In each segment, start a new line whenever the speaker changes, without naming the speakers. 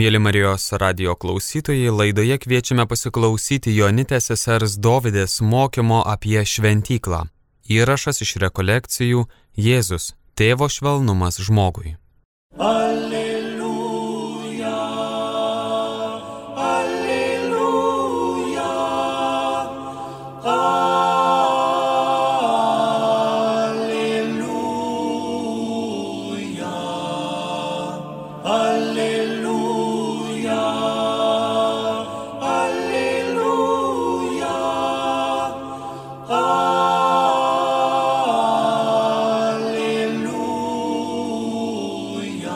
Mėly Marijos radio klausytojai, laidoje kviečiame pasiklausyti Jonitės sesers Dovydės mokymo apie šventyklą. Įrašas iš rekolekcijų Jėzus - Tėvo švelnumas žmogui.
Alléluia, Alléluia, Alléluia, Alléluia, Alléluia, Alléluia.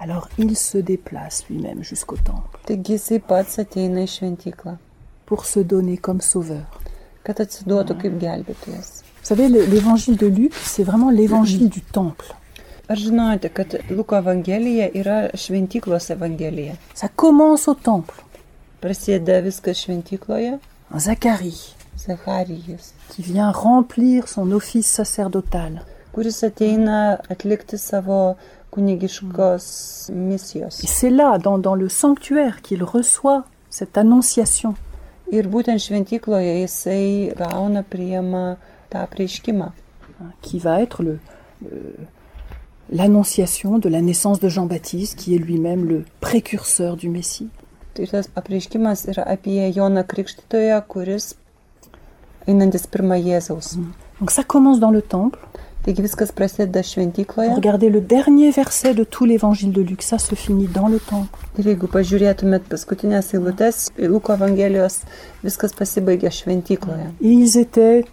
Alors il se déplace lui-même jusqu'au temple
Taigi jisai pats ateina į šventyklą,
pour se donner comme sauveur.
kad atsiduotų kaip gelbėtojas.
Vous savez, le- l'évangile de Luc, c'est vraiment l'évangile du temple.
Ar žinote, kad Luko Evangelija yra šventyklos Evangelija?
Ça commence au temple.
Prasideda viskas šventykloje,
Zacharie,
Zacharijus,
qui vient remplir son office sacerdotal.
kuris ateina atlikti savo kunigiškos misijos.
Et c'est là, dans, dans le sanctuaire, qu'il reçoit cette annonciation.
Ir būtent šventykloje jisai gauna priema tą prieškimą,
hein, qui va être le- le- l'annonciation de la naissance de Jean-Baptiste, qui est lui-même le précurseur du Messie.
Tai tas apreiškimas yra apie Joną Krikštytoją, kuris einantis pirmą Jėzaus.
Donc ça commence dans le temple.
Taigi viskas prasideda šventykloje.
Regardez le dernier verset de tout l'évangile de Luc, ça se finit dans le temple.
Ir jeigu pažiūrėtumėt paskutinės eilutes į Luko Evangelijos, viskas pasibaigia šventykloje.
Et ils étaient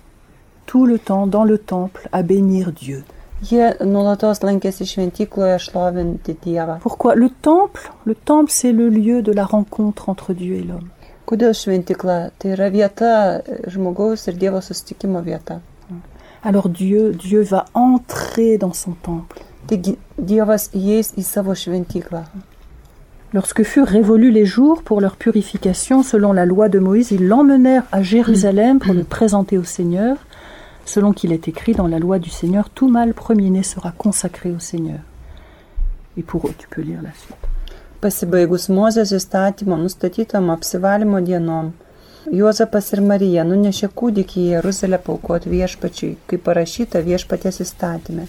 tout le temps dans le temple à bénir Dieu.
Jie nulatos lankėsi šventykloje šlovinti Dievą.
Pourquoi Le temple, le temple c'est le lieu de la rencontre entre Dieu et l'homme.
Kodėl šventykla? Tai yra vieta e, žmogaus ir Dievo susitikimo vieta.
Alors Dieu, Dieu va entrer dans son temple.
Taigi Dievas įeis į savo šventyklą.
Lorsque furent révolus les jours pour leur purification selon la loi de Moïse, ils l'emmenèrent à Jérusalem pour le présenter au Seigneur, selon qu'il est écrit dans la loi du Seigneur, tout mâle premier-né sera consacré au Seigneur. Et pour eux, tu peux lire la suite.
Pasibaigus Mozės įstatymo nustatytom apsivalimo dienom, Juozapas ir Marija nunešė kūdikį į Jeruzalę paukoti viešpačiui, kaip parašyta viešpaties įstatymė.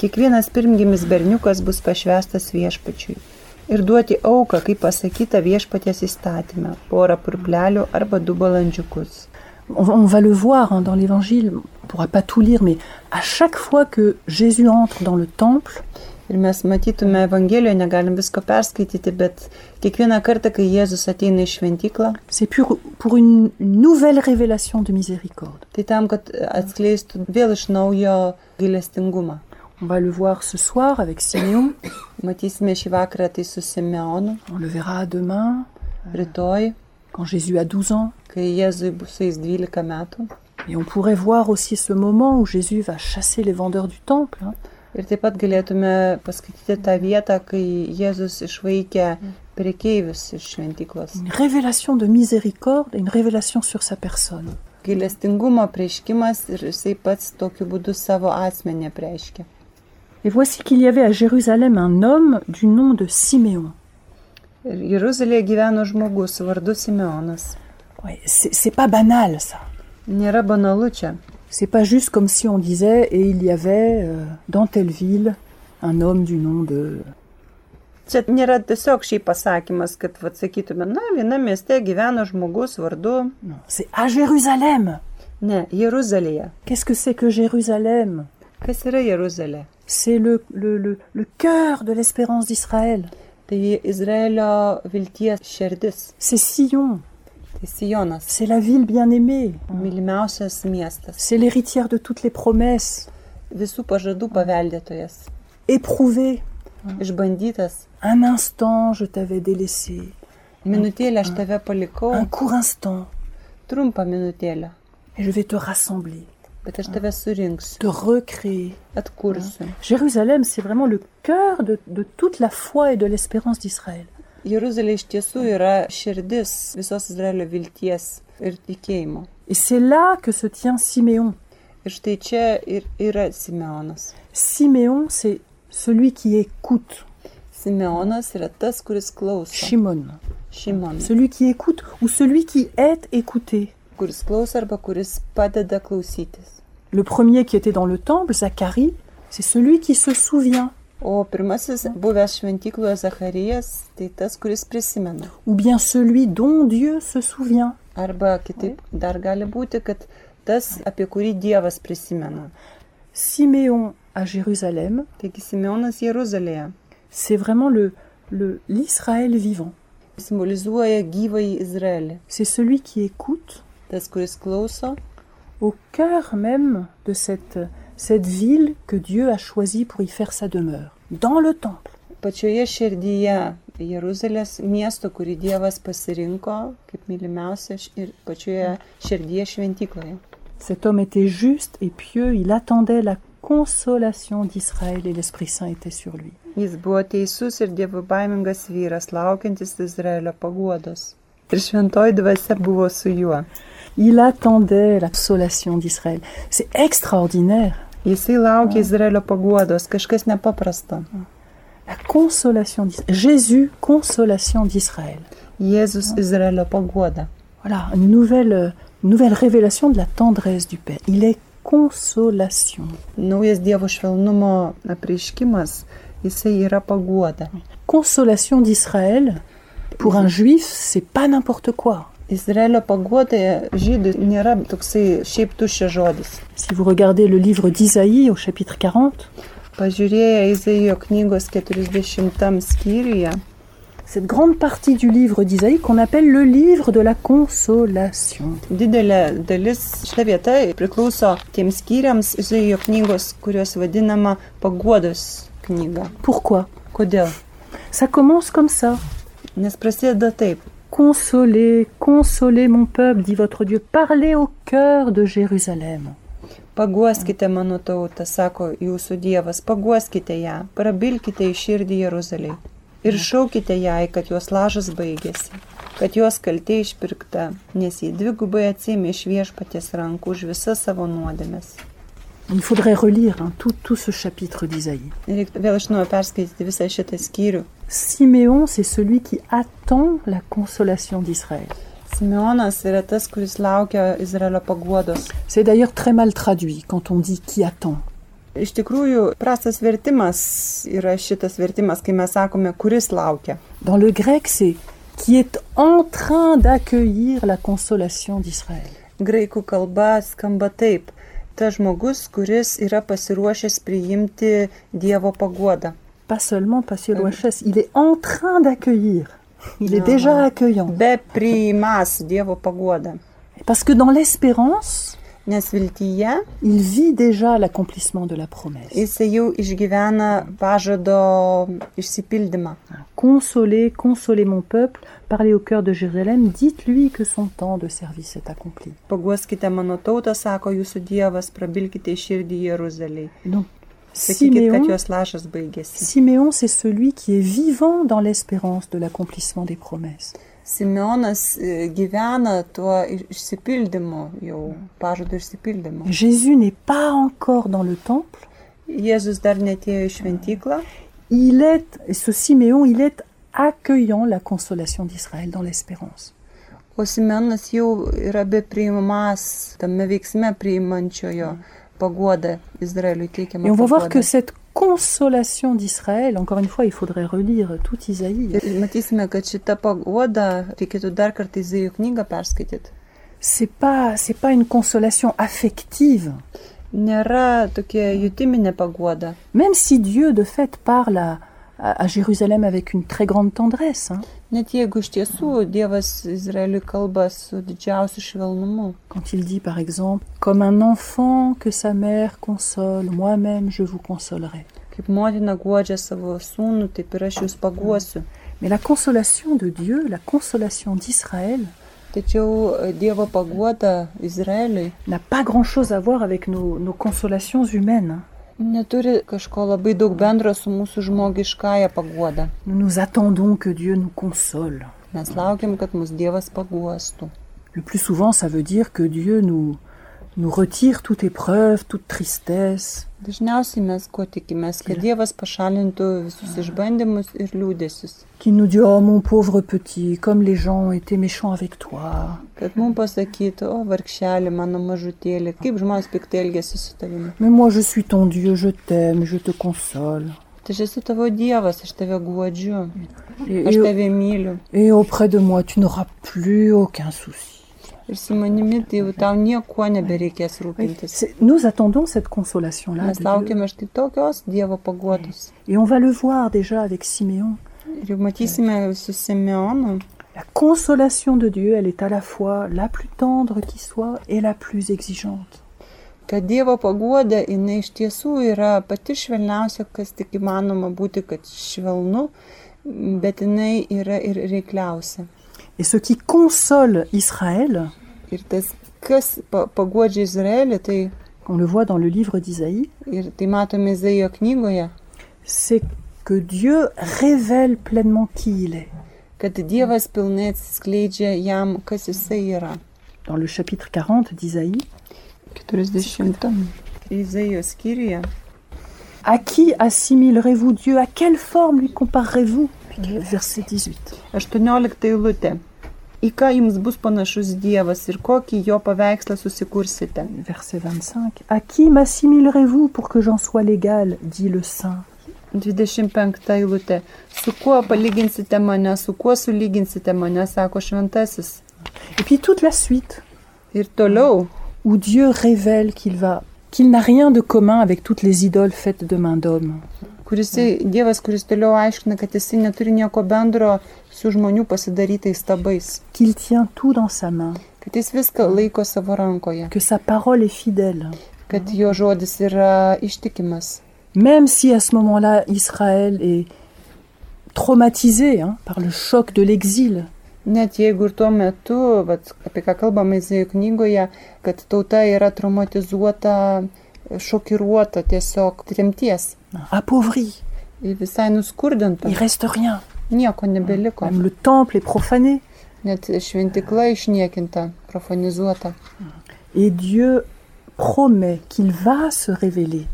Kiekvienas pirmgimis berniukas bus pašvestas viešpačiui. Ir duoti auką, kaip pasakyta viešpaties įstatymė, porą purplelių arba du balandžiukus.
On, on va le voir hein, dans l'évangile, on ne pourra pas tout lire, mais à chaque fois que Jésus entre dans le temple,
Ir mes matytume Evangelijoje, negalim visko perskaityti, bet kiekvieną kartą, kai Jėzus ateina į šventyklą,
c'est pour, pour une nouvelle révélation de miséricorde.
Tai tam, kad atskleistų vėl iš naujo gailestingumą.
On va le voir ce soir avec Simeon,
Matysime šį vakarą tai su Simeonu,
on le verra demain,
rytoj,
quand Jésus a 12 ans.
kai Jėzui bus sueis 12 metų.
Et on pourrait voir aussi ce moment où Jésus va chasser les vendeurs du temple. hein.
Ir taip pat galėtume paskaityti tą vietą, kai Jėzus išvaikė prekeivius iš šventyklos.
Une révélation de miséricorde et une révélation sur sa personne.
Gailestingumo prieškimas ir jisai pats tokiu būdu savo asmenį prieškė.
Et voici qu'il y avait à Jérusalem un homme du nom de Siméon.
Ir Jeruzalėje gyveno žmogus vardu Simeonas.
Ouais, c'est c'est pas banal ça.
Nėra banalu čia.
C'est pas juste comme si on disait et il y avait euh, dans telle ville un homme du nom de.
Čia nėra tiesiog šiaip pasakymas, kad, vat, sakytume, na, viena mieste gyveno žmogus vardu,
Non, c'est à Jérusalem.
ne, Jeruzalėje.
Qu'est-ce que c'est que Jérusalem
Kas yra Jeruzalė?
C'est le, le, le, le cœur de l'espérance d'Israël.
Tai Izraelio vilties širdis,
C'est Sion.
tai Sijonas,
C'est la ville bien-aimée.
mylimiausias miestas,
C'est l'héritière de toutes les promesses,
visų pažadų paveldėtojas,
éprouvée.
išbandytas.
Un instant, je t'avais délaissé.
Minutėlę aš tave palikau,
Un court instant,
trumpą minutėlę,
et je vais te rassembler,
bet aš tave surinksiu,
te recréer.
atkursiu.
Jérusalem, c'est vraiment le cœur de, de toute la foi et de l'espérance d'Israël.
Jeruzalė iš tiesų yra širdis visos Izraelio vilties ir tikėjimo.
Et c'est là que se tient Siméon.
Ir štai čia ir yra Simeonas.
Siméon, c'est celui qui écoute.
Simeonas yra tas, kuris klauso.
Shimon,
Šeimonas,
celui qui écoute ou celui qui est écouté.
kuris klauso arba kuris padeda klausytis.
Le premier qui était dans le temple, Zacharie, c'est celui qui se souvient,
O pirmasis buvęs šventykloje Zacharijas, tai tas, kuris prisimena.
ou bien celui dont Dieu se souvient.
Arba kitaip dar gali būti, kad tas, apie kurį Dievas prisimena.
Siméon à Jérusalem,
Taigi Simeonas Jeruzalėje
c'est vraiment le le- l'Israël vivant.
simbolizuoja gyvąjį Izraelį.
C'est celui qui écoute
Tas, kuris klauso,
au cœur même de cette, cette ville que Dieu a choisie pour y faire sa demeure, dans le temple.
pačioje širdyje Jeruzalės miesto, kurį Dievas pasirinko kaip mylimiausia š- ir pačioje širdyje šventykloje.
Cet homme était juste et pieux, il attendait la consolation d'Israël et l'Esprit Saint était sur lui.
Jis buvo teisus ir dievų baimingas vyras, laukiantis Izraelio paguodos. Ir šventoji dvasia buvo su juo.
Il attendait la consolation d'Israël. C'est extraordinaire.
Jisai laukia Izraelio paguodos, kažkas nepaprasto.
La consolation d'Israël. Jésus, consolation d'Israël.
Jėzus Izraelio paguoda.
Voilà, une nouvelle, euh, nouvelle révélation de la tendresse du Père. Il est consolation.
Naujas dievo švelnumo apreiškimas, jisai yra paguoda.
Consolation d'Israël, pour un juif, c'est pas n'importe quoi.
Izraelio paguoda žydų nėra toksai šiaip tuščia žodis.
Si vous regardez le livre d'Isaïe au chapitre 40,
Pažiūrėję Izaijo knygos 40 skyriuje,
cette grande partie du livre d'Isaïe qu'on appelle le livre de la consolation.
didelė dalis šita vieta priklauso tiems skyriams Izaijo knygos, kurios vadinama paguodos knyga.
Pourquoi
Kodėl?
Ça commence comme ça.
Nes prasideda taip.
Consolez, consolez mon peuple, dit votre Dieu. Parlez au cœur de Jérusalem.
Paguoskite mano tautą, sako jūsų Dievas, paguoskite ją, prabilkite į širdį Jeruzaliai. Ir šaukite jai, kad jos lažas baigėsi, kad jos kaltė išpirkta, nes jį dvigubai atsėmė iš viešpaties rankų už visas savo nuodėmes.
Il faudrait relire hein, tout, tout ce chapitre d'Isaïe.
Reikia vėl iš naujo perskaityti visą šitą skyrių.
Siméon, c'est celui qui attend la consolation d'Israël.
Simeonas yra tas, kuris laukia Izraelio paguodos.
C'est d'ailleurs très mal traduit quand on dit qui attend.
Iš tikrųjų, prastas vertimas yra šitas vertimas, kai mes sakome, kuris laukia.
Dans le grec, c'est qui est en train d'accueillir la consolation d'Israël.
Graikų kalba skamba taip. Ta žmogus, kuris yra pasiruošęs priimti Dievo paguodą.
Pas seulement passer l'OHS, il est en train d'accueillir. Il est déjà accueillant.
Be priimas Dievo paguodą.
Parce que dans l'espérance,
Nes viltyje
il vit déjà l'accomplissement de la promesse.
jis jau išgyvena pažado išsipildymą.
Consolez, consolez mon peuple, parlez au cœur de Jérusalem, dites-lui que son temps de service est accompli.
Paguoskite mano tautą, sako jūsų Dievas, prabilkite į širdį Jeruzaliai.
Donc,
Sakykit, kad
Siméon,
jos lašas baigėsi.
Siméon, c'est celui qui est vivant dans l'espérance de l'accomplissement des promesses.
Simeonas e, gyvena tuo iš- išsipildymu, jau pažadų išsipildymu.
Jésus n'est pas encore dans le temple,
Jėzus dar netėjo į šventyklą,
il est, et ce Siméon, il est accueillant la consolation d'Israël dans l'espérance.
o Simeonas jau yra be priimamas tame veiksme priimančiojo paguodą Izraeliui teikiamą.
Et on va voir
paguodą.
que cette consolation d'Israël, encore une fois, il faudrait relire tout Isaïe,
Ir matysime, kad šita paguoda, reikėtų dar kartą Izaijo knygą perskaityti.
c'est pas, c'est pas une consolation affective.
Nėra tokia jutiminė paguoda.
Même si Dieu, de fait, parle à, à- à Jérusalem avec une très grande tendresse, hein,
Net jeigu iš tiesų Dievas Izraeliui kalba su didžiausiu švelnumu.
quand il dit, par exemple, Comme un enfant que sa mère console, moi-même je vous consolerai.
Kaip motina guodžia savo sūnų, taip ir aš jūs paguosiu.
Mais la consolation de Dieu, la consolation d'Israël,
Tačiau e, Dievo paguoda Izraeliui
n'a pas grand-chose à voir avec nos, nos consolations humaines. hein.
neturi kažko labai daug bendro su mūsų žmogiškąją paguoda.
Nous nous attendons que Dieu nous console.
Mes laukiam, kad mūsų Dievas paguostų.
Le plus souvent, ça veut dire que Dieu nous, nous retire toute épreuve, toute tristesse,
Dažniausiai mes ko tikimės, kad Dievas pašalintų visus išbandymus ir liūdėsius.
qui nous dit Oh mon pauvre petit, comme les gens ont été méchants avec toi.
Kad mums pasakytų, o vargšelį, mano mažutėlį, kaip žmonės piktai elgesi su tavimi.
Mais moi je suis ton Dieu, je t'aime, je te console.
Tai aš esu tavo Dievas, aš tave guodžiu,
Et,
aš
et-
tave myliu.
et auprès de moi, tu n'auras plus aucun souci.
Ir su manimi tai jau tau nieko nebereikės rūpintis.
C'est- Nous attendons cette consolation-là.
Mes
de Dieu.
laukiame štai tokios Dievo paguodos.
Et on va le voir déjà avec Siméon.
Ir jau matysime su Simeonu,
La consolation de Dieu, elle est à la fois la plus tendre qui soit et la plus exigeante.
kad Dievo paguoda, jinai iš tiesų yra pati švelniausia, kas tik įmanoma būti, kad švelnu, bet jinai yra ir reikliausia.
Et ce qui console Israël,
Ir tas, kas pa paguodžia Izraelį, tai,
on le voit dans le livre d'Isaïe,
ir tai matome Izaijo knygoje,
c'est que Dieu révèle pleinement qui il est.
kad Dievas pilnai atskleidžia jam, kas jisai yra.
Dans le chapitre 40 d'Isaïe,
40. Izaijo skyriuje.
À qui assimilerez-vous Dieu À quelle forme lui comparerez-vous Verset 18.
18 eilutė. Į ką jums bus panašus Dievas ir kokį jo paveikslą susikursite?
Verset 25. À qui m'assimilerez-vous pour que j'en sois l'égal dit le saint.
25 eilutė. Su kuo palyginsite mane, su kuo sulyginsite mane, sako šventasis.
Et puis toute la suite,
Ir toliau,
où Dieu révèle qu'il va qu'il n'a rien de commun avec toutes les idoles faites de main d'homme.
kuris, Dievas, kuris toliau aiškina, kad jis neturi nieko bendro su žmonių pasidarytais stabais,
Qu'il tient tout dans sa main,
kad jis viską laiko savo rankoje,
que sa parole est fidèle.
kad jo žodis yra ištikimas.
Même si à ce moment-là, Israël est traumatisé hein, par le choc de l'exil,
Net jeigu ir tuo metu, vat, apie ką kalbama Izaijo knygoje, kad tauta yra traumatizuota, šokiruota tiesiog tremties
appauvri,
ir visai nuskurdinta,
il reste rien.
nieko nebeliko,
Même le temple est profané.
net šventikla išniekinta, profanizuota.
Et Dieu promet qu'il va se révéler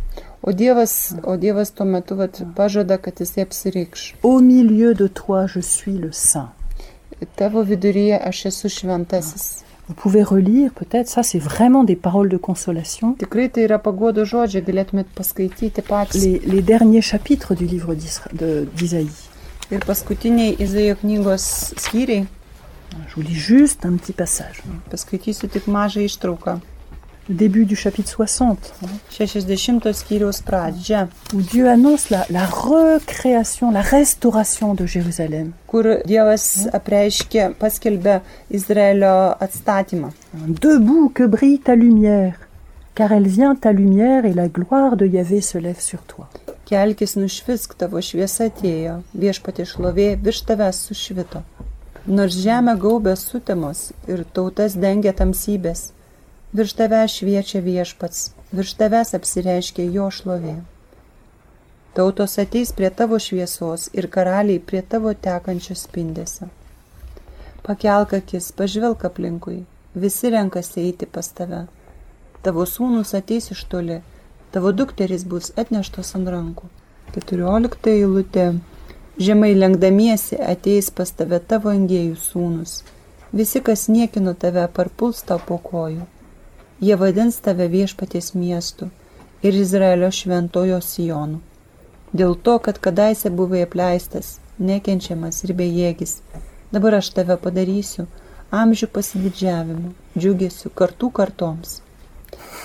O Dievas, o dievas tuo metu vat, pažada, kad jis apsireikš.
au milieu de toi, je suis le saint.
Tavo viduryje aš esu šventasis.
Vous pouvez relire peut-être, ça c'est vraiment des paroles de consolation,
Tikrai tai yra pagodo žodžiai, galėtumėt paskaityti patys.
les, les derniers chapitres du livre d'Isra- de- d'Isaïe.
Ir paskutiniai Izaijo knygos skyriai.
Je vous lis juste un petit passage.
Paskaitysiu tik mažą ištrauką.
Le début du chapitre 60, hein,
60 skyriaus pradžia,
où Dieu annonce la, la recréation, la restauration de Jérusalem.
kur Dievas apreiškė, paskelbė Izraelio atstatymą.
Debout que brille ta lumière, car elle vient ta lumière et la gloire de Yahvé se lève sur toi.
Kelkis nušvisk tavo šviesa atėjo, viešpatė šlovė virš tavęs sušvito. Nors žemė gaubė sutemos ir tautas dengia tamsybės, virš tavęs šviečia viešpats, virš tavęs apsireiškia jo šlovė. Tautos ateis prie tavo šviesos ir karaliai prie tavo tekančios spindėse. Pakelk akis, pažvelk aplinkui, visi renkasi eiti pas tave. Tavo sūnus ateis iš toli, tavo dukteris bus atneštos ant rankų. 14 eilutė. Žemai lengdamiesi ateis pas tave tavo angėjų sūnus. Visi, kas niekino tave, parpuls tau po kojų. Jie vadins tave viešpaties miestu ir Izraelio šventojo Sijonu. Dėl to, kad kadaise buvai apleistas, nekenčiamas ir bejėgis, dabar aš tave padarysiu amžių pasididžiavimu, džiugesiu kartų kartoms.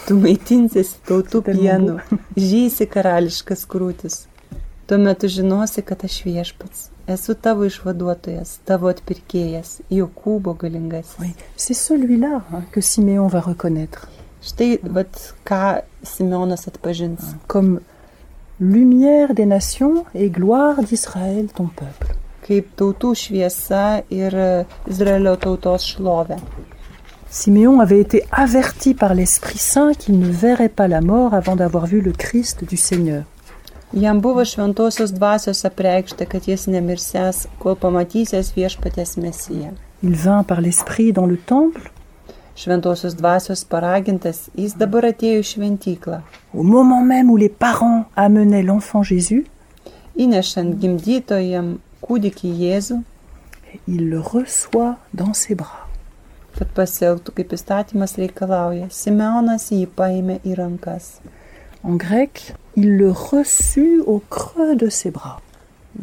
Tu maitinsiesi tautų
tellement
pienu, žysi karališkas krūtis. Tuomet tu žinosi, kad aš viešpats, esu tavo išvaduotojas, tavo atpirkėjas, Jokūbo galingas.
Oui, c'est celui-là hein, que Siméon va reconnaître
Štai, vat, ką Simeonas atpažins.
hein, comme lumière des nations et gloire d'Israël, ton peuple.
Kaip tautų šviesa ir Izraelio tautos šlovė.
Siméon avait été averti par l'Esprit Saint qu'il ne verrait pas la mort avant d'avoir vu le Christ du Seigneur.
Jam buvo šventosios dvasios apreikšta, kad jis nemirsės, kol pamatysės viešpatės mesiją.
Il vint par l'Esprit dans le temple
šventosios dvasios paragintas, jis dabar atėjo į šventyklą,
Au moment même où les parents amenaient l'enfant Jésus,
įnešant gimdytojam kūdikį Jėzų,
il le reçoit dans ses bras.
kad pasielgtų kaip įstatymas reikalauja. Simeonas jį paėmė į rankas.
En grec, il le reçut au creux de ses bras.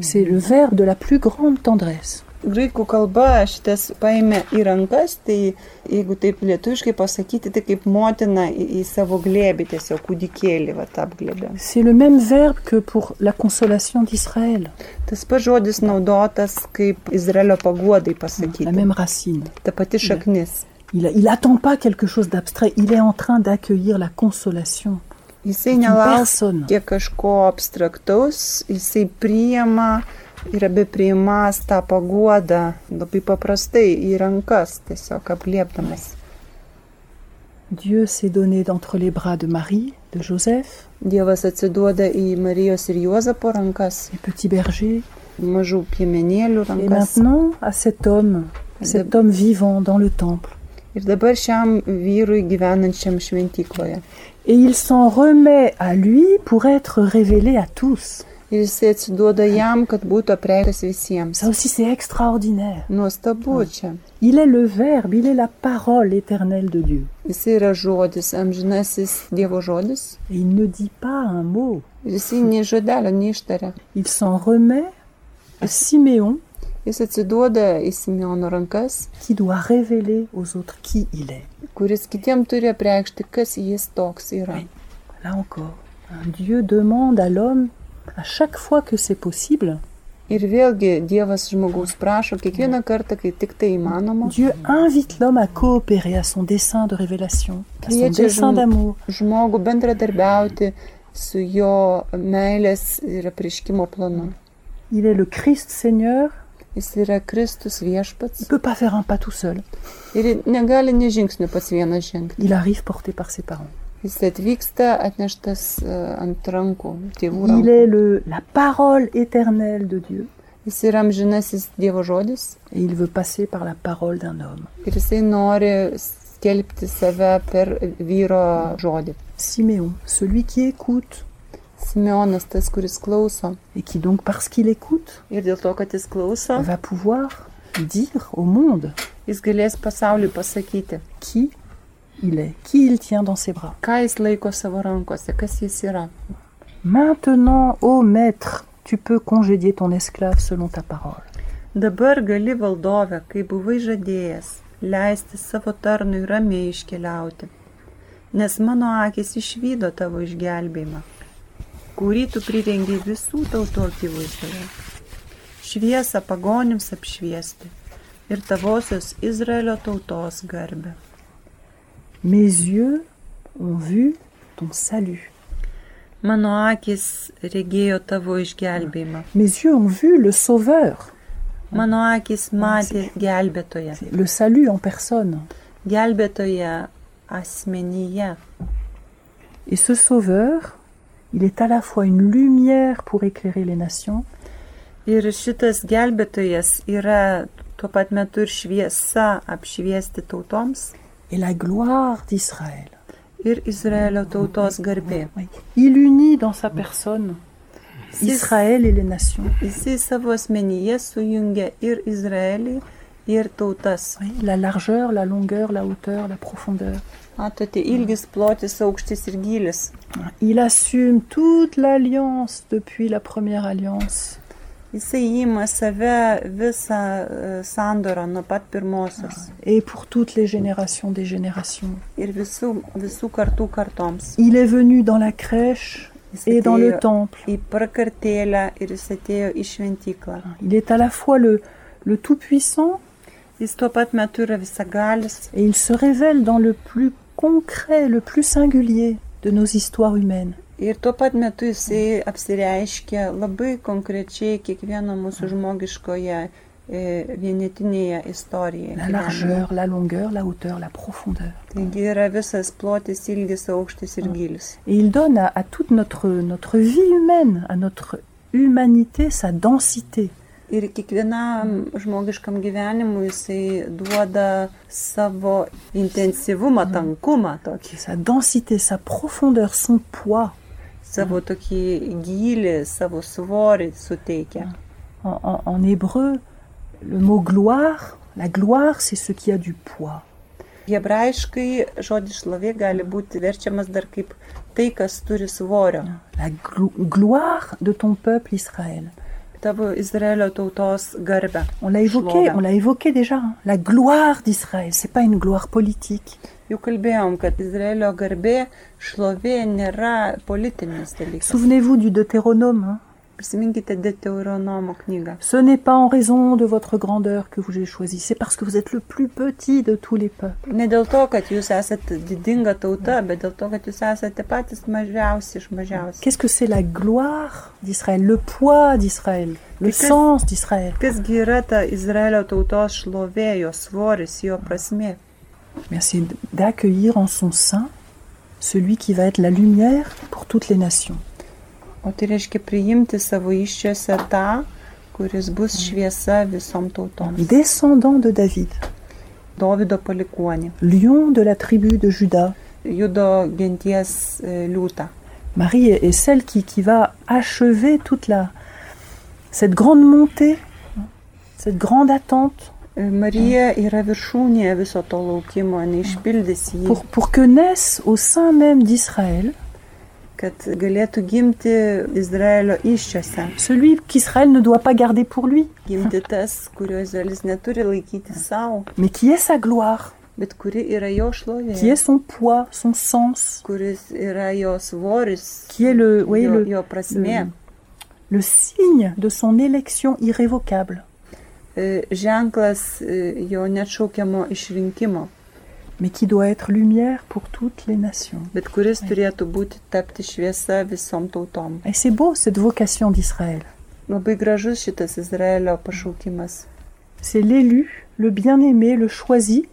C'est le verbe de la plus grande tendresse.
Graikų kalba šitas paėmė į rankas, tai jeigu taip lietuviškai pasakyti, tai kaip motina į, į savo glėbį tiesiog kūdikėlį va apglėbė.
C'est le même verbe que pour la consolation d'Israël,
Tas pats žodis naudotas kaip Izraelio paguodai
la
pasakyti.
même racine.
Ta pati šaknis.
Il il attend pas quelque chose d'abstrait, il est en train d'accueillir la consolation.
Jisai
d'une personne.
nelaukia kažko abstraktaus, jisai priima ir abi priimas tą paguodą labai paprastai į rankas, tiesiog apliepdamas.
Dieu s'est donné d'entre les bras de Marie, de Joseph,
Dievas atsiduoda į Marijos ir Juozapo rankas,
les petits bergers.
mažų piemenėlių
Et
rankas.
maintenant à cet homme, à cet homme vivant dans le temple.
Ir dabar šiam vyrui gyvenančiam šventykloje.
Et il s'en remet à lui pour être révélé à tous.
Ir jisai atsiduoda jam, kad būtų apreiktas visiems.
Ça aussi c'est extraordinaire.
Nuostabu čia.
Il est le Verbe, il est la parole éternelle de Dieu.
Jisai yra žodis, amžinasis Dievo žodis.
Et il ne dit pas un mot.
Ir jisai nei žodelio neištaria.
Il s'en remet à Siméon
Jis atsiduoda į Simeono rankas,
qui doit révéler aux autres qui il est.
kuris kitiem turi apreikšti, kas jis toks yra.
Là encore, hein, Dieu demande à l'homme, à chaque fois que c'est possible,
Ir vėlgi Dievas žmogaus prašo kiekvieną kartą, kai tik tai įmanoma.
Dieu invite l'homme à coopérer à son dessein de révélation, à son
Dieu, tu es
dessein
mon-
d'amour.
žmogų bendradarbiauti su jo meilės ir apriškimo planu.
Il est le Christ Seigneur,
Jis yra Kristus
il ne
viešpats
peut pas faire un pas tout seul.
ir negali nežingsnių pas vieną žengti.
Il arrive porté par ses parents.
Jis atvyksta atneštas e, ant rankų tėvų.
Il
Rankų.
est le, la parole éternelle de Dieu
Jis yra amžinasis Dievo žodis
et il veut passer par la parole d'un homme.
ir jisai nori skelbti save per vyro žodį.
Siméon, celui qui écoute
Simeonas tas, kuris klauso.
et qui donc parce qu'il écoute
Ir dėl to, kad jis klauso,
va pouvoir dire au monde
jis galės pasauliu pasakyti,
qui il est, qui il tient dans ses bras.
ką jis laiko savo rankose, kas jis yra.
Maintenant, ô maître, tu peux congédier ton esclave selon ta parole.
Dabar gali valdove, kai buvai žadėjęs, leisti savo tarnui ramiai iškeliauti, nes mano akis išvydo tavo išgelbėjimą, kurį tu prirengiai visų tautų akivaizdoje. Šviesą pagonims apšviesti ir tavosios Izraelio tautos garbę.
Mes yeux ont vu ton salut.
Mano akis regėjo tavo išgelbėjimą,
Mes yeux ont vu le Sauveur,
mano akis matė gelbėtoje,
le salut en personne.
gelbėtoje asmenyje.
Et ce Sauveur, il est à la fois une lumière pour éclairer les nations
Ir šitas gelbėtojas yra tuo pat metu ir šviesa apšviesti tautoms
et la gloire d'Israël.
ir Izraelio tautos garbė.
Oui. Il unit dans sa personne Israël et les nations.
Jisai savo asmenyje sujungia ir Izraelį, ir tautas.
Oui, La largeur, la longueur, la hauteur, la profondeur.
Matote, ilgis, plotis, aukštis ir gilis.
Il assume toute l'alliance depuis la première alliance.
Jisai įima save visą e, sandorą nuo pat pirmosios
et pour toutes les générations des générations.
ir visų, visų kartų kartoms.
Il est venu dans la crèche
Jis
et euh, dans le
atėjo
temple.
Į prakartėlę ir jis atėjo į šventyklą.
Il est à la fois le, le Tout-Puissant
Jis tuo pat metu yra visagalis
et il se révèle dans le plus concret, le plus singulier de nos histoires humaines.
Ir tuo pat metu jisai apsireiškia labai konkrečiai kiekvieno mūsų žmogiškoje e, vienetinėje istorijoje.
La
gyvenimo.
largeur, la longueur, la hauteur, la profondeur.
Taigi yra visas plotis, ilgis, aukštis ir gilis.
Et il donne à, à toute notre, notre vie humaine, à notre humanité, sa densité,
Ir kiekvienam žmogiškam gyvenimui jisai duoda savo intensyvumą, tankumą, tokį,
sa densité, sa profondeur, son poids.
savo tokį gylį, savo svorį suteikia.
En, en- en hébreu, le mot gloire, la gloire, c'est ce qui a du poids.
Hebrajiškai žodis šlovė gali būti verčiamas dar kaip tai, kas turi svorio.
La glo- gloire de ton peuple Israël.
Tavo Izraelio tautos garbę.
On l'a évoqué,
šlovę.
on l'a évoqué déjà. hein. La gloire d'Israël, c'est pas une gloire politique,
Jau kalbėjom, kad Izraelio garbė šlovė nėra politinis dalykas.
Souvenez-vous du Deutéronome. hein.
Prisiminkite Deuteronomo knygą.
Ce n'est pas en raison de votre grandeur que vous j'ai choisi, c'est parce que vous êtes le plus petit de tous les peuples.
Ne dėl to, kad jūs esate didinga tauta, bet dėl to, kad jūs esate patys mažiausi iš mažiausių.
Qu'est-ce que c'est la gloire d'Israël, le poids d'Israël, le
Qu'est-ce-
sens d'Israël
Kasgi yra ta Izraelio tautos šlovė, jo svoris, jo prasmė.
Bien, C'est d'accueillir en son sein celui qui va être la lumière pour toutes les nations.
O tai reiškia priimti savo iščiose tą, kuris bus šviesa visom tautom.
Descendant de David,
Dovido palikuonį,
lion de la tribu de Juda,
judo genties e, liūtą.
Marie est est celle qui, qui va achever toute la cette grande montée, hein, cette grande attente
E, Marija yra viršūnėje viso to laukimo, neišpildys jį,
pour, pour que naisse au sein même d'Israël
kad galėtų gimti Izraelio iščiose.
celui qu'Israël ne doit pas garder pour lui,
Gimti tas, kurio Izraelis neturi laikyti savo,
mais qui est sa gloire,
bet kuri yra jo
qui est
šlovė,
son poids, son sens,
kuris yra jo svoris,
qui est le, oui,
jo,
le,
jo prasmė,
le signe de son élection irrévocable.
e, ženklas e, jo neatšaukiamo išrinkimo.
mais qui doit être lumière pour toutes les nations.
bet kuris turėtų būti tapti šviesa visom tautom.
Et c'est beau cette vocation d'Israël.
Labai gražus šitas Izraelio pašaukimas.
C'est l'élu, le bien-aimé, le choisi,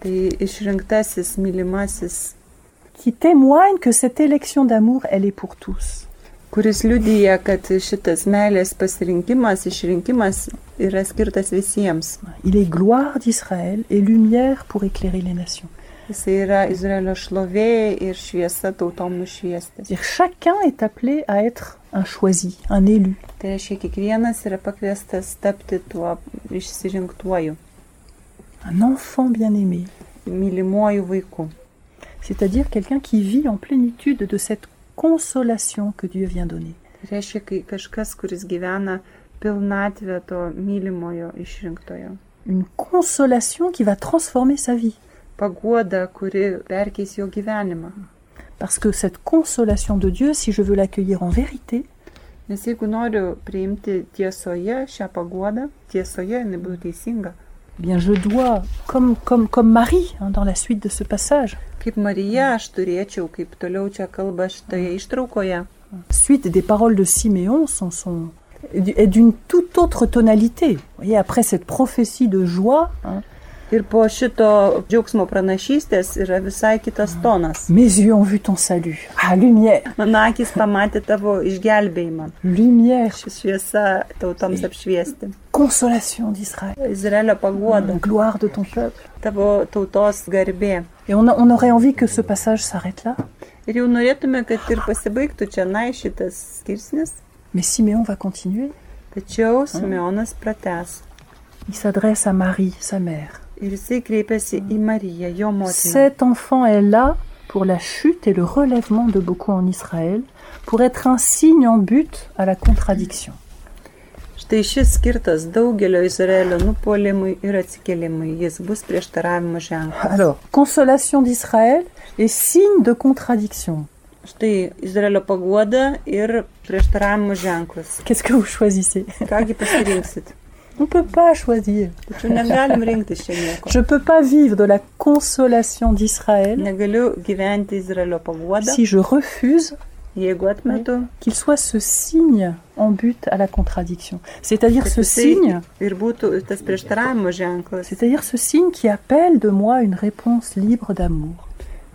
Tai išrinktasis, mylimasis,
qui témoigne que cette élection d'amour, elle est pour tous.
kuris liudyja, kad šitas meilės pasirinkimas, išrinkimas yra skirtas visiems.
Il est gloire d'Israël et lumière pour éclairer les nations.
Jis yra Izraelio šlovė ir šviesa tautom nušviestas.
C'est-à-dire chacun est appelé à être un choisi, un élu.
Tai reiškia, kiekvienas yra pakviestas tapti tuo išsirinktuoju,
Un enfant bien-aimé,
mylimuoju vaiku.
c'est-à-dire quelqu'un qui vit en plénitude de cette consolation que Dieu vient donner.
Tai reiškia, kai kažkas, kuris gyvena pilnatvė to mylimojo išrinktojo.
Une consolation qui va transformer sa vie.
Paguoda, kuri perkeis jo gyvenimą.
Parce que cette consolation de Dieu, si je veux l'accueillir en vérité,
Nes jeigu noriu priimti tiesoje šią paguodą, tiesoje jinai būtų teisinga.
eh bien je dois, comme, comme, comme Marie hein, dans la suite de ce passage,
Kaip Marija aš turėčiau, kaip toliau čia kalba šitoje ištraukoje,
suite des paroles de Siméon sont, sont et d'une toute autre tonalité. Vous voyez, après cette prophétie de joie, hein,
ir po šito džiaugsmo pranašystės yra visai kitas tonas.
mes yeux ont vu ton salut. Ah, lumière,
Mano akis pamatė tavo išgelbėjimą.
lumière,
Ši šviesa tautoms apšviesti.
consolation d'Israël,
Izraelio paguoda,
gloire de ton peuple.
tavo tautos garbė.
Et on, a- on aurait envie que ce passage s'arrête là,
Ir jau norėtume, kad ir pasibaigtų čia na šitas skirsnis,
mais Siméon va continuer.
tačiau Simeonas prates.
Il s'adresse à Marie, sa mère.
Ir jisai kreipiasi į Mariją, jo motiną.
Cet enfant est là pour la chute et le relèvement de beaucoup en Israël, pour être un signe en but à la contradiction.
Štai šis skirtas daugelio Izraelio nupolimui ir atsikėlimui. Jis bus prieštaravimo ženklas.
Alors, consolation d'Israël et signe de contradiction.
Štai Izraelio paguoda ir prieštaravimo ženklas.
Qu'est-ce que vous choisissez
Kągi pasirinksit?
On ne peut pas choisir.
Tačiau negalim rinkti šiandien.
Je ne peux pas vivre de la consolation d'Israël
Negaliu gyventi Izraelio paguodą,
si je refuse
jeigu atmetu.
qu'il soit ce signe en but à la contradiction. C'est-à-dire
kad
ce
jisai
signe,
Ir būtų tas prieštaravimo ženklas.
c'est-à-dire ce signe qui appelle de moi une réponse libre d'amour.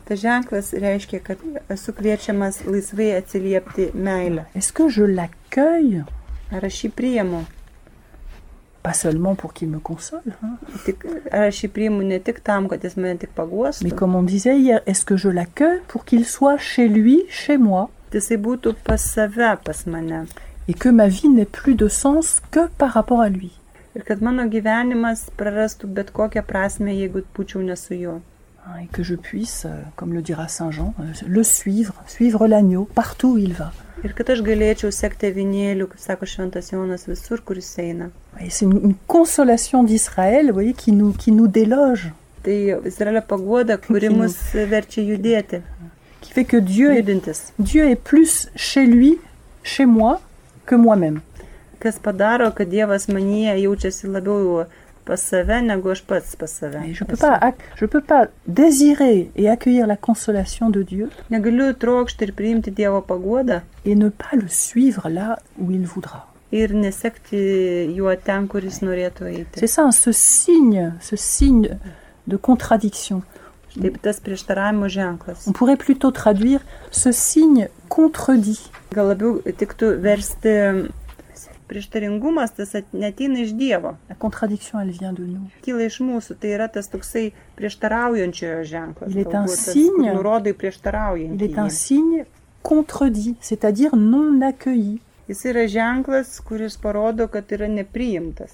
Ta ženklas reiškia, kad esu kviečiamas laisvai atsiliepti meilę.
Est-ce que je l'accueille
Ar aš jį priimu?
Pas seulement pour qu'il me console, hein,
Tik, aš jį priimu ne tik tam, kad jis mane tik
mais
paguostų,
comme on disait hier, est-ce que je l'accueille pour qu'il soit chez lui, chez moi,
jisai būtų pas save, pas mane.
et que ma vie n'ait plus de sens que par rapport à lui
Ir kad mano gyvenimas prarastų bet kokią prasme, jeigu būčiau nesu juo.
hein, et que je puisse, euh, comme le dira Saint Jean, euh, le suivre, suivre l'agneau partout où il va.
Ir kad aš galėčiau sekti vinėlių, kaip sako Šventas Jonas, visur, kur jis eina.
Et c'est une, une consolation d'Israël, vous voyez, qui nous, qui nous déloge,
Tai Izraelio paguoda, kuri
Kinų.
mus verčia judėti,
qui fait que Dieu est,
judintis.
Dieu est plus chez lui, chez moi, que moi-même.
Kas padaro, kad Dievas manyje jaučiasi labiau pas save, negu aš pats pas save.
Et je ne peux,
esu.
pas ac- je peux pas désirer et accueillir la consolation de Dieu
Negaliu trokšti ir priimti Dievo paguodą
et ne pas le suivre là où il voudra.
ir nesekti juo ten, kur jis norėtų eiti.
C'est ça, hein, ce signe, ce signe de contradiction.
Taip tas prieštaravimo ženklas.
On pourrait plutôt traduire ce signe contredit.
Gal labiau tiktų versti prieštaringumas, tas at- neteina iš Dievo,
La contradiction, elle vient de nous.
kyla iš mūsų. Tai yra tas toksai prieštaraujančiojo ženklas.
Il est un
galbūt tas, kur
signe.
Nurodai
Il
prieštaraujantį.
est un
jį.
signe contredit, c'est-à-dire non accueilli.
Jis yra ženklas, kuris parodo, kad yra nepriimtas.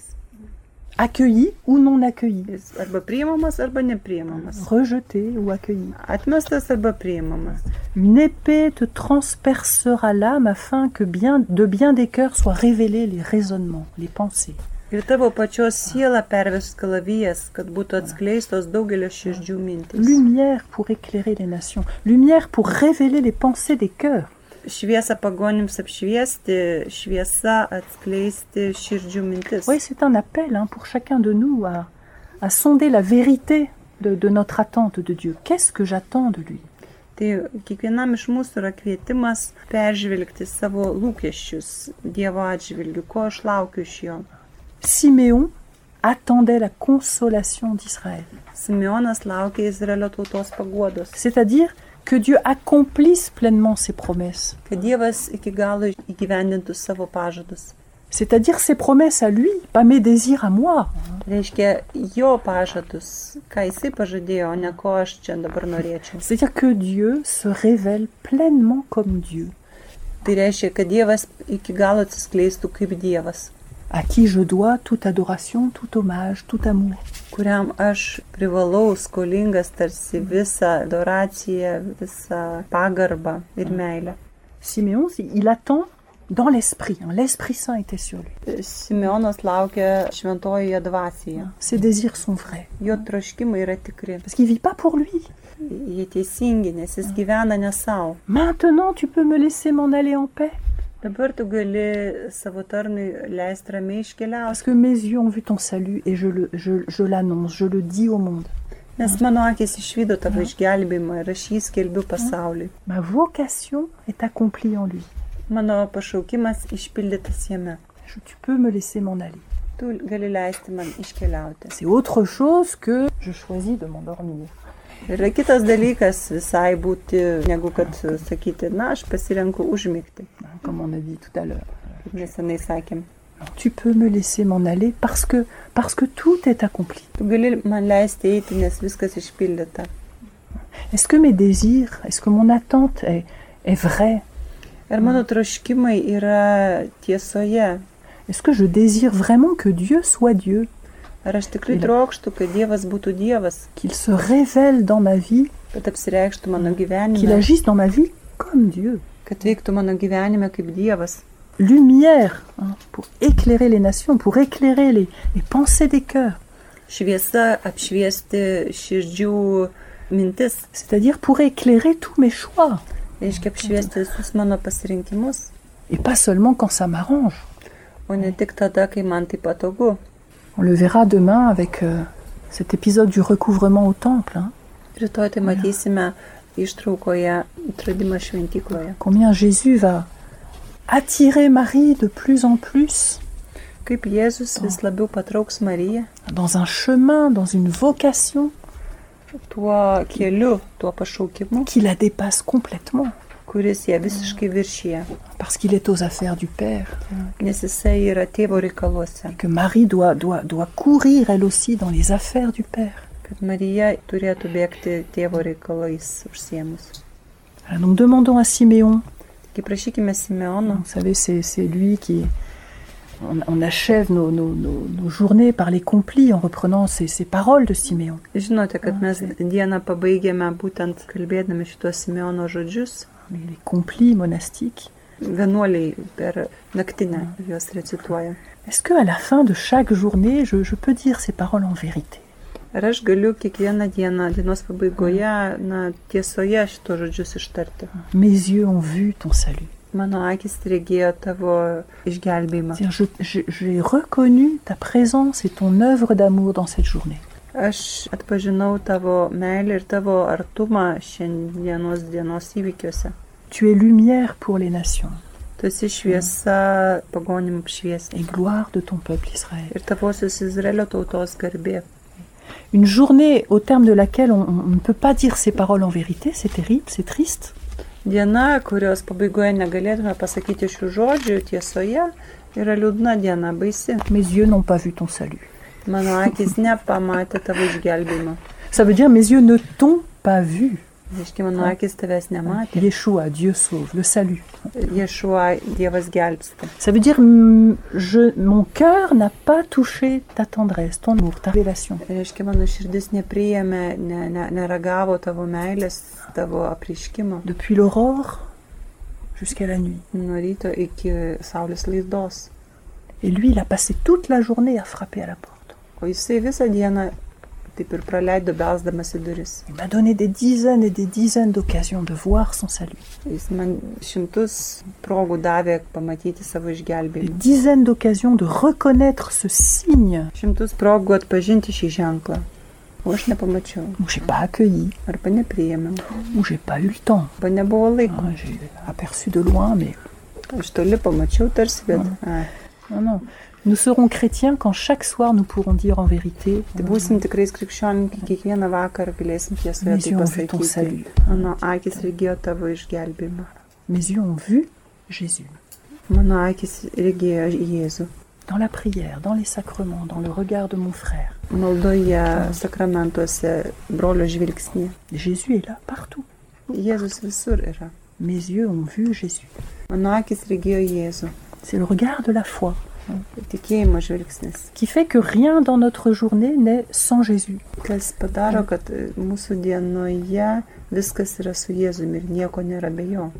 Accueilli ou non accueilli.
Jis arba priimamas, arba nepriimamas.
Rejeté ou accueilli.
Atmestas arba priimamas.
Une épée te transpercera l'âme afin que bien, de bien des cœurs soient révélés les raisonnements, les pensées.
Ir tavo pačios siela perves kalavijas, kad būtų atskleistos daugelio širdžių mintis.
Lumière pour éclairer les nations. Lumière pour révéler les pensées des cœurs.
Šviesą pagonims apšviesti, šviesa atskleisti širdžių mintis.
Oui, c'est un appel hein, pour chacun de nous à, à sonder la vérité de, de notre attente de Dieu. Qu'est-ce que j'attends de lui
Tai kiekvienam iš mūsų yra kvietimas peržvelgti savo lūkesčius Dievo atžvilgiu, ko aš laukiu iš jo.
Siméon attendait la consolation d'Israël,
Simeonas laukia Izraelio tautos paguodos,
c'est-à-dire que Dieu accomplisse pleinement ses promesses.
kad Dievas iki galo įgyvendintų savo pažadus.
C'est-à-dire ses promesses à lui, pas mes désirs à moi.
Reiškia, jo pažadus, ką jisai pažadėjo, o ne ko aš čia dabar norėčiau.
C'est-à-dire que Dieu se révèle pleinement comme Dieu,
Tai reiškia, kad Dievas iki galo atsiskleistų kaip Dievas,
à qui je dois toute adoration, tout hommage, tout amour.
kuriam aš privalau skolingas tarsi visą adoraciją, visą pagarbą ir meilę.
Siméon, il attend dans l'Esprit. hein, L'Esprit Saint était sur lui.
Simeonas laukia šventojoje dvasioje.
hein. Ses désirs sont vrais.
Jo troškimai yra tikri.
Parce qu'il vit pas pour lui.
Jie teisingi, nes jis gyvena ne savo.
Maintenant, tu peux me laisser m'en aller en paix.
Dabar tu gali savo tarnui leisti ramiai
Parce
iškeliauti,
que mes yeux ont vu ton salut et je le- je- je l'annonce, je le dis au monde.
nes mano akis išvydo tavo išgelbėjimą ir aš jį skelbiu pasauliui.
Ma vocation est accomplie en lui.
Mano pašaukimas išpildytas jame.
Je- tu peux me laisser m'en aller.
Tu gali leisti man iškeliauti.
C'est autre chose que je choisis de m'endormir.
Yra kitas dalykas visai būti, negu kad sakyti, na, aš pasirenku užmygti,
hein, comme on a dit tout à l'heure.
kaip nesenai sakėm.
Tu peux me laisser m'en aller parce que, parce que tout est accompli.
Tu gali man leisti eiti, nes viskas išpildyta.
Est-ce que mes désirs, est-ce que mon attente est, est vraie
Ir mano troškimai yra tiesoje.
Est-ce que je désire vraiment que Dieu soit Dieu,
Ar aš tikrai
Yra.
trokštų, kad Dievas būtų Dievas,
qu'il se révèle dans ma vie,
kad apsireikštų mano
qu'il
gyvenime,
agisse dans ma vie comme Dieu
kad veiktų mano gyvenime kaip Dievas.
Lumière hein, pour éclairer les nations, pour éclairer les, les pensées des cœurs,
Šviesa apšviesti širdžių mintis,
c'est-à-dire pour éclairer tous mes choix.
reiškia apšviesti visus mano pasirinkimus,
Et pas seulement quand ça m'arrange.
o ne tik tada, kai man tai patogu.
On le verra demain avec euh, cet épisode du recouvrement au temple. hein.
Rytoj tai matysime ištraukoje atradimą šventykloje.
Combien Jésus va attirer Marie de plus en plus
Kaip Jėzus vis labiau patrauks Mariją
dans un chemin, dans une vocation
tuo keliu, tuo pašaukimu,
qui la dépasse complètement.
kuris ją visiškai viršyje,
parce qu'il est aux affaires du Père,
nes jisai yra tėvo reikaluose.
que Marie doit, doit, doit courir elle aussi dans les affaires du Père.
Kad Marija turėtų bėgti tėvo reikalais užsiemus.
Voilà, donc demandons à Siméon,
Taigi prašykime Simeono,
vous savez, c'est c'est lui qui... On, on achève nos, nos- nos- nos journées par les complis en reprenant ces, ces paroles de Siméon.
žinote, kad mes dieną pabaigėme būtent kalbėdami šitos Simeono žodžius,
Les, les complis monastiques.
vienuoliai per naktinę juos recituoja.
Est-ce que à la fin de chaque journée, je, je peux dire ces paroles en vérité
Ar aš galiu kiekvieną dieną, dienos pabaigoje, na, tiesoje šito žodžius ištarti?
Mes yeux ont vu ton salut.
Mano akis regėjo tavo išgelbėjimą.
C'est-à-dire, je- je- J'ai reconnu ta présence et ton œuvre d'amour dans cette journée.
Aš atpažinau tavo meilę ir tavo artumą šiandienos dienos įvykiuose.
Tu es lumière pour les nations
Tu esi šviesa pagonim apšviesti.
et gloire de ton peuple Israël.
Ir tavosios Izraelio tautos garbė.
Une journée au terme de laquelle on, on ne peut pas dire ces paroles en vérité, c'est terrible, c'est triste.
Diena, kurios pabaigoje negalėtume pasakyti šių žodžių tiesoje, yra liūdna diena, baisi.
Mes yeux n'ont pas vu ton salut.
Mano akis nepamatė tavo išgelbėjimo.
Ça veut dire mes yeux ne t'ont pas vu.
Reiškia, mano akis tavęs nematė.
Yeshua, Dieu sauve, le salut.
Ješua, Dievas gelbsti.
Ça veut dire mm, je, mon cœur n'a pas touché ta tendresse, ton amour, ta révélation.
Reiškia, mano širdis nepriėmė, ne, ne, neragavo tavo meilės, tavo apriškimo.
Depuis l'aurore jusqu'à la nuit.
Nuo ryto iki saulės laidos.
Et lui, il a passé toute la journée à frapper à la porte.
O jisai visą dieną taip ir praleido besdamas į duris.
Il m'a donné des dizaines et des dizaines d'occasions de voir son salut.
Jis man šimtus progų davė pamatyti savo
Des
išgelbėjimą.
dizaines d'occasions de reconnaître ce signe.
Šimtus progų atpažinti šį ženklą. O aš nepamačiau.
où j'ai pas accueilli,
Arba nepriėmiau.
où j'ai pas eu le temps.
Arba nebuvo laiko.
Hein, J'ai aperçu de loin, mais
Iš toli pamačiau tarsi, bet... Ai.
non, non. Nous serons chrétiens quand chaque soir nous pourrons dire en vérité
Tai būsim tikrais krikščionim, kai kiekvieną vakarą galėsim tiesoje
Mes
tai
jau tom
pasakyti.
saly.
Mano akis regėjo tavo išgelbimą.
Mes yeux ont vu Jésus.
Mano akis regėjo Jėzų.
Dans la prière, dans les sacrements, dans le regard de mon frère.
Maldoje, sakramentuose, brolio žvilgsnį.
Jésus est là, partout.
Jėzus visur yra.
Mes yeux ont vu Jésus.
Mano akis regėjo Jėzų.
C'est le regard de la foi
Tikėjimo žvilgsnis.
qui fait que rien dans notre journée n'est sans Jésus.
Kas padaro, kad e, mūsų dienoje viskas yra su Jėzumi ir nieko nėra be jo.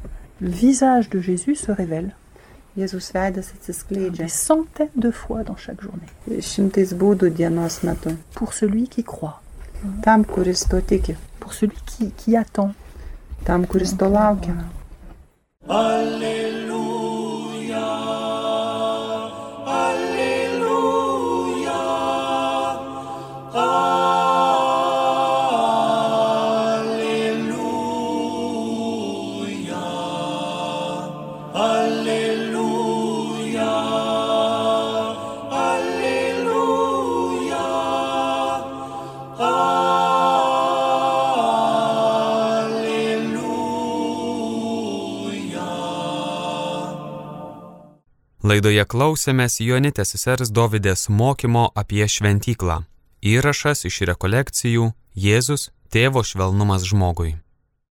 Le visage de Jésus se révèle
Jėzus veidas atsiskleidžia
des centaines de fois dans chaque journée
šimtais būdų dienos metu.
pour celui qui croit,
Tam, kuris to tiki.
pour celui qui, qui attend.
tam, kuris to laukia.
Alleluia, Alleluia, Alleluia, Alleluia, Alleluia, Alleluia.
Laidoje klausėmės Jonitės sesers Dovydės mokymo apie šventyklą. Įrašas iš rekolekcijų Jėzus - tėvo švelnumas žmogui.